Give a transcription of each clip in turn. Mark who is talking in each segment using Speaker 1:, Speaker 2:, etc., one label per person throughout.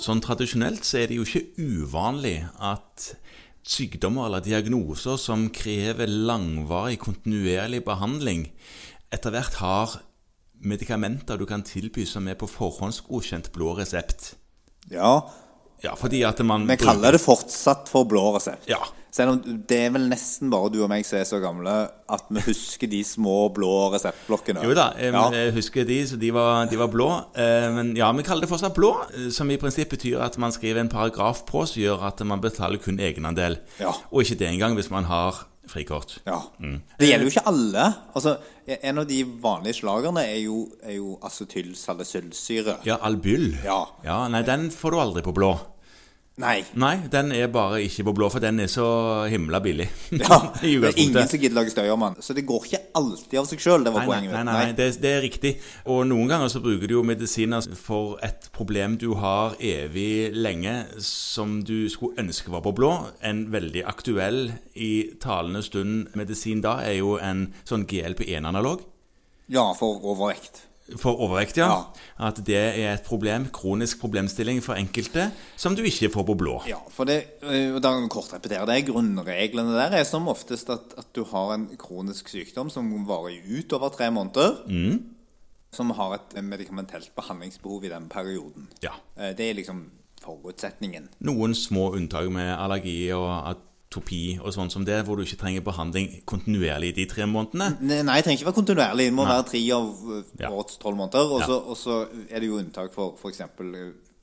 Speaker 1: sånn tradisjonelt så er det jo ikke uvanlig at sykdommer eller diagnoser som krever langvarig, kontinuerlig behandling, etter hvert har medikamenter du kan tilby som er på forhåndsgodkjent blå resept.
Speaker 2: Ja,
Speaker 1: Ja, fordi at man
Speaker 2: vi kaller det fortsatt for blå resept.
Speaker 1: Ja.
Speaker 2: Selv om det er vel nesten bare du og meg som er så gamle at vi husker de små blå reseptblokkene.
Speaker 1: Jo da, eh, jeg,
Speaker 2: Ja.
Speaker 1: jeg husker de, så de var, de var blå. Eh, Men ja, vi kaller det fortsatt blå, eh, som i prinsipp betyr at man skriver en paragraf på som gjør at man betaler kun egenandel.
Speaker 2: Ja.
Speaker 1: Og ikke det engang hvis man har frikort.
Speaker 2: Ja.
Speaker 1: mm.
Speaker 2: Det gjelder jo ikke alle. Altså, en av de vanlige slagerne er jo, er jo acetylsalicylsyre.
Speaker 1: Ja, Albyl.
Speaker 2: Ja.
Speaker 1: ja. Nei, den får du aldri på blå.
Speaker 2: Nei.
Speaker 1: Nei, den er bare ikke på blå, for den er så himla billig.
Speaker 2: Ja,
Speaker 1: I
Speaker 2: det er ingen
Speaker 1: utgangspunktet.
Speaker 2: som gidder lage støy om den. Så det går ikke alltid av seg sjøl. Det
Speaker 1: Nei,
Speaker 2: var
Speaker 1: nei,
Speaker 2: poenget
Speaker 1: nei,
Speaker 2: mitt.
Speaker 1: nei det, det er riktig. Og noen ganger så bruker du jo medisiner for et problem du har evig lenge, som du skulle ønske var på blå. En veldig aktuell i talende stund medisin da er jo en sånn GLP-1-analog.
Speaker 2: Ja, for overvekt.
Speaker 1: For overvekt, ja.
Speaker 2: Ja.
Speaker 1: At det er et problem, kronisk problemstilling for enkelte, som du ikke får på blå.
Speaker 2: Ja, for det, eh, og da kan vi kort repetere det. Grunnreglene der er som oftest at, at du har en kronisk sykdom som varer ut over tre måneder,
Speaker 1: Mm.
Speaker 2: som har et eh, medikamentelt behandlingsbehov i den perioden.
Speaker 1: Ja.
Speaker 2: Eh, Det er liksom forutsetningen.
Speaker 1: Noen små unntak med allergi og atopi og sånn som det, hvor du ikke trenger behandling kontinuerlig de tre månedene.
Speaker 2: Ne- Nei, det trenger ikke være kontinuerlig. Det må være tre av ø,
Speaker 1: Ja.
Speaker 2: årets tolv måneder. Og
Speaker 1: Ja.
Speaker 2: så, og så er det jo unntak for f.eks.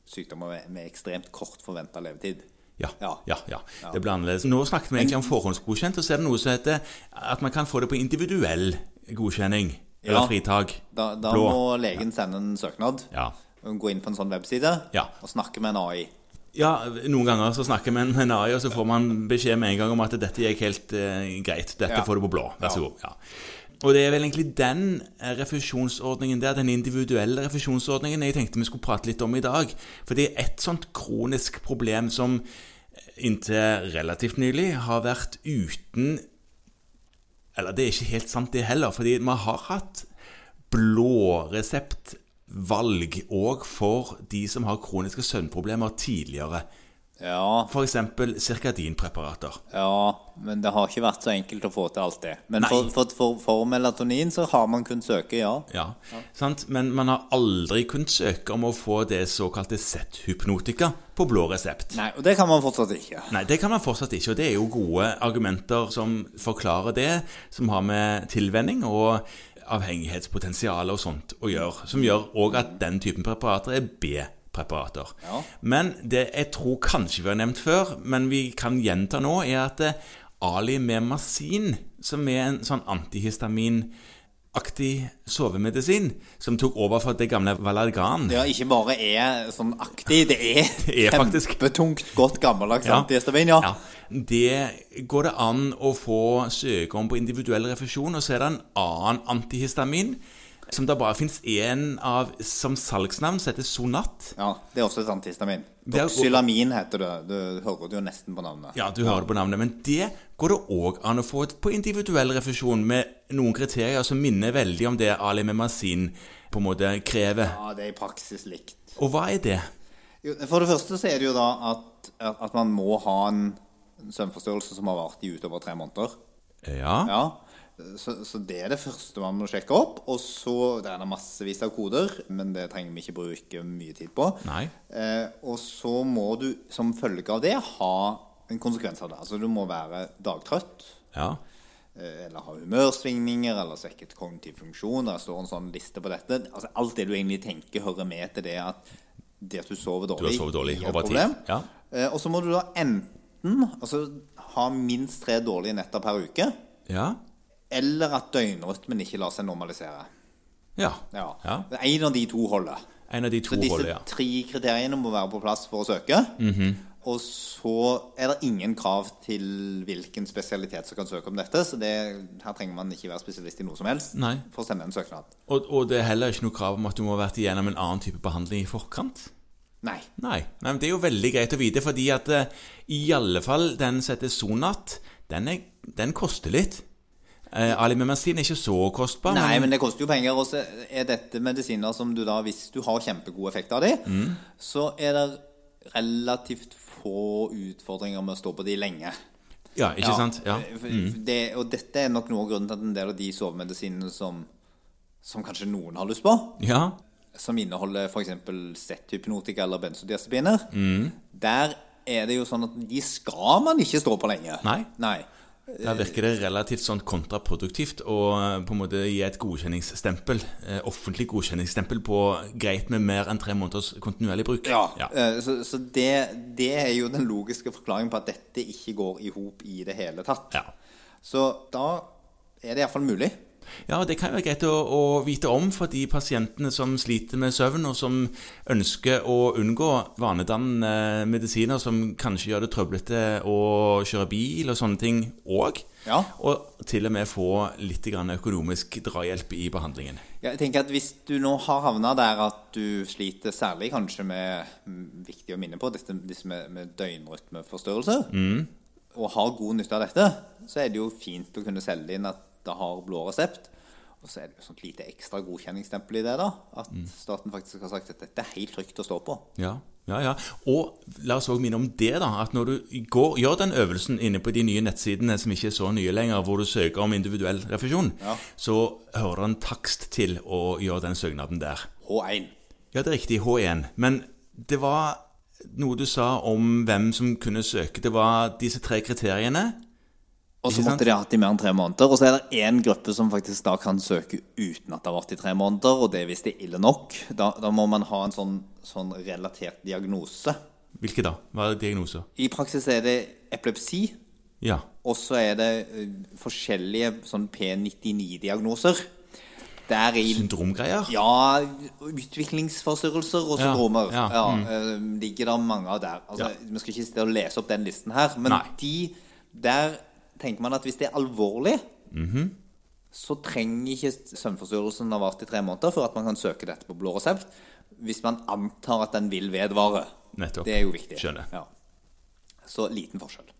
Speaker 2: sykdommer med, med ekstremt kort forventa levetid.
Speaker 1: Ja,
Speaker 2: Ja.
Speaker 1: ja, ja. Det blir annerledes. Nå snakket vi egentlig om forhåndsgodkjent, og så er det noe som heter at man kan få det på individuell godkjenning. Eller
Speaker 2: Ja.
Speaker 1: fritak.
Speaker 2: Da, da
Speaker 1: Blå.
Speaker 2: må legen sende en søknad.
Speaker 1: Ja.
Speaker 2: og Gå inn på en sånn webside
Speaker 1: Ja.
Speaker 2: og snakke med en AI.
Speaker 1: ja, noen ganger så snakker vi med en AI, og så får man beskjed med en gang om at dette gikk helt eh, greit. Dette
Speaker 2: Ja.
Speaker 1: får du på blå. Vær så
Speaker 2: Ja.
Speaker 1: god. Ja. Og det er vel egentlig den eh, refusjonsordningen der, den individuelle refusjonsordningen, jeg tenkte vi skulle prate litt om i dag. For det er et sånt kronisk problem som eh, inntil relativt nylig har vært uten Eller det er ikke helt sant det heller, fordi vi har hatt blå reseptvalg òg for de som har kroniske søvnproblemer tidligere.
Speaker 2: Ja,
Speaker 1: F.eks. cirkadinpreparater.
Speaker 2: ja, men det har ikke vært så enkelt å få til alt det. Men
Speaker 1: Nei.
Speaker 2: for, for, for, for melatonin så har man kunnet søke, ja.
Speaker 1: Ja, Sant? Men man har aldri kunnet søke om å få det såkalte Z-hypnotika på blå resept.
Speaker 2: Nei, Og det kan man fortsatt ikke.
Speaker 1: Nei, det kan man fortsatt ikke, og det er jo gode argumenter som forklarer det, som har med tilvenning og avhengighetspotensial og sånt å gjøre, som gjør òg at den typen preparater er B-preparater.
Speaker 2: Ja.
Speaker 1: Men det jeg tror kanskje vi har nevnt før, men vi kan gjenta nå, er at eh, Ali Memasin, som er en sånn antihistaminaktig sovemedisin, som tok over for det gamle Valargan
Speaker 2: Ja, ikke bare er sånn aktig, det er,
Speaker 1: Det er faktisk-
Speaker 2: kjempetungt, godt, gammeldags
Speaker 1: Ja.
Speaker 2: antihistamin, ja.
Speaker 1: Ja. Det går det an å få søke om på individuell refusjon, og så er det en annen antihistamin som det bare fins én av som salgsnavn, som heter Sonat.
Speaker 2: Ja, det er også et antihistamin.
Speaker 1: Det er-
Speaker 2: Doxylamin heter det. Du hører det jo nesten på navnet.
Speaker 1: Ja, du hører det på navnet, men det går det òg an å få på individuell refusjon med noen kriterier som minner veldig om det Ali Memasin på en måte krever.
Speaker 2: Ja, det er i praksis likt.
Speaker 1: Og hva er det?
Speaker 2: Jo, For det første så er det jo da at, at man må ha en søvnforstyrrelse som har vart i utover tre måneder.
Speaker 1: Ja,
Speaker 2: Ja. Så, så det er det første man må sjekke opp. Og så Det er det massevis av koder, men det trenger vi ikke bruke mye tid på.
Speaker 1: Nei.
Speaker 2: Eh, og så må du som følge av det ha en konsekvens av det. Altså du må være dagtrøtt.
Speaker 1: ja,
Speaker 2: eh, Eller ha humørsvingninger, eller svekket kognitiv funksjon. Der står en sånn liste på dette. Altså Alt det du egentlig tenker, hører med til det at det at du sover dårlig,
Speaker 1: Du har sovet dårlig
Speaker 2: gir et
Speaker 1: over tid.
Speaker 2: problem.
Speaker 1: Ja.
Speaker 2: Eh, Og så må du da enten altså, ha minst tre dårlige netter per uke,
Speaker 1: ja,
Speaker 2: eller at døgnrytmen ikke lar seg normalisere.
Speaker 1: ja.
Speaker 2: Ja.
Speaker 1: ja.
Speaker 2: En av de to holder.
Speaker 1: En av de to
Speaker 2: Så disse
Speaker 1: holder, ja. Mhm.
Speaker 2: tre kriteriene må være på plass for å søke. Og så er det ingen krav til hvilken spesialitet som kan søke om dette. Så det, her trenger man ikke være spesialist i noe som helst
Speaker 1: Nei.
Speaker 2: for å sende en søknad.
Speaker 1: Og, og det er heller ikke noe krav om at du må ha vært igjennom en annen type behandling i forkant?
Speaker 2: Nei.
Speaker 1: Nei. Nei, men Det er jo veldig greit å vite, fordi at eh, i alle fall den som heter Sonat, den, er, den koster litt. Eh, Alimemazin er ikke så kostbar.
Speaker 2: Nei, men det koster jo penger. Og så
Speaker 1: Mhm.
Speaker 2: er dette medisiner som du da, hvis du har kjempegod effekt av de, så er det relativt få utfordringer med å stå på de lenge.
Speaker 1: Ja, ikke sant? Ja.
Speaker 2: Eh,
Speaker 1: Mm.
Speaker 2: For- for Det, og dette er nok noe av grunnen til at en del av de sovemedisinene som, som kanskje noen har lyst på,
Speaker 1: ja.
Speaker 2: som inneholder f.eks. Z-hypnotika eller benzodiazepiner,
Speaker 1: Mm.
Speaker 2: der er det jo sånn at de skal man ikke stå på lenge.
Speaker 1: Nei.
Speaker 2: Nei.
Speaker 1: Da virker det relativt sånn kontraproduktivt å eh, på en måte gi et godkjenningsstempel, eh, offentlig godkjenningsstempel på greit med mer enn tre måneders kontinuerlig bruk.
Speaker 2: Ja. eh, Så, så det, det er jo den logiske forklaringen på at dette ikke går i hop i det hele tatt.
Speaker 1: Ja.
Speaker 2: Så da er det iallfall mulig.
Speaker 1: Ja, Det kan være greit å, å vite om for de pasientene som sliter med søvn, og som ønsker å unngå vanedannende medisiner som kanskje gjør det trøblete å kjøre bil og sånne ting òg.
Speaker 2: Ja.
Speaker 1: Og til og med få litt grann økonomisk drahjelp i behandlingen.
Speaker 2: Jeg tenker at Hvis du nå har havna der at du sliter særlig kanskje med mm, viktig å minne på dette, disse med, med døgnrytmeforstyrrelse, og har god nytte av dette, så er det jo fint å kunne selge inn at det har blå resept. Og så er det jo sånt lite ekstra godkjenningsstempel i det, da. At staten faktisk har sagt at dette er helt trygt å stå på.
Speaker 1: Ja, ja, ja. Og la oss også minne om det, da. At når du går, gjør den øvelsen inne på de nye nettsidene som ikke er så nye lenger, hvor du søker om individuell refusjon,
Speaker 2: Ja.
Speaker 1: så hører det en takst til å gjøre den søknaden der.
Speaker 2: H1.
Speaker 1: Ja, det er riktig. H1. Men det var noe du sa om hvem som kunne søke. Det var disse tre kriteriene.
Speaker 2: Og så
Speaker 1: Ikke sant?
Speaker 2: måtte de ha hatt i mer enn tre måneder. Og så er det én gruppe som faktisk da kan søke uten at det har vært i tre måneder, og det er hvis det er ille nok. Da, da må man ha en sånn, sånn relatert diagnose.
Speaker 1: Hvilke da? Hva er diagnoser?
Speaker 2: I praksis er det epilepsi,
Speaker 1: Ja.
Speaker 2: og så er det eh, forskjellige sånn P99-diagnoser. Der i
Speaker 1: Syndromgreier?
Speaker 2: Ja, utviklingsforstyrrelser og
Speaker 1: Ja,
Speaker 2: syndromer. Ja,
Speaker 1: ja, mm.
Speaker 2: eh, ligger det mange av der. Altså,
Speaker 1: Ja.
Speaker 2: Vi skal ikke sitte og lese opp den listen her, men
Speaker 1: Nei.
Speaker 2: de der tenker man at hvis det er alvorlig,
Speaker 1: Mhm.
Speaker 2: så trenger ikke søvnforstyrrelsen ha vart i tre måneder før at man kan søke dette på blå resept. Hvis man antar at den vil vedvare.
Speaker 1: Nettopp.
Speaker 2: Det er jo viktig.
Speaker 1: Skjønner.
Speaker 2: Ja. Så liten forskjell.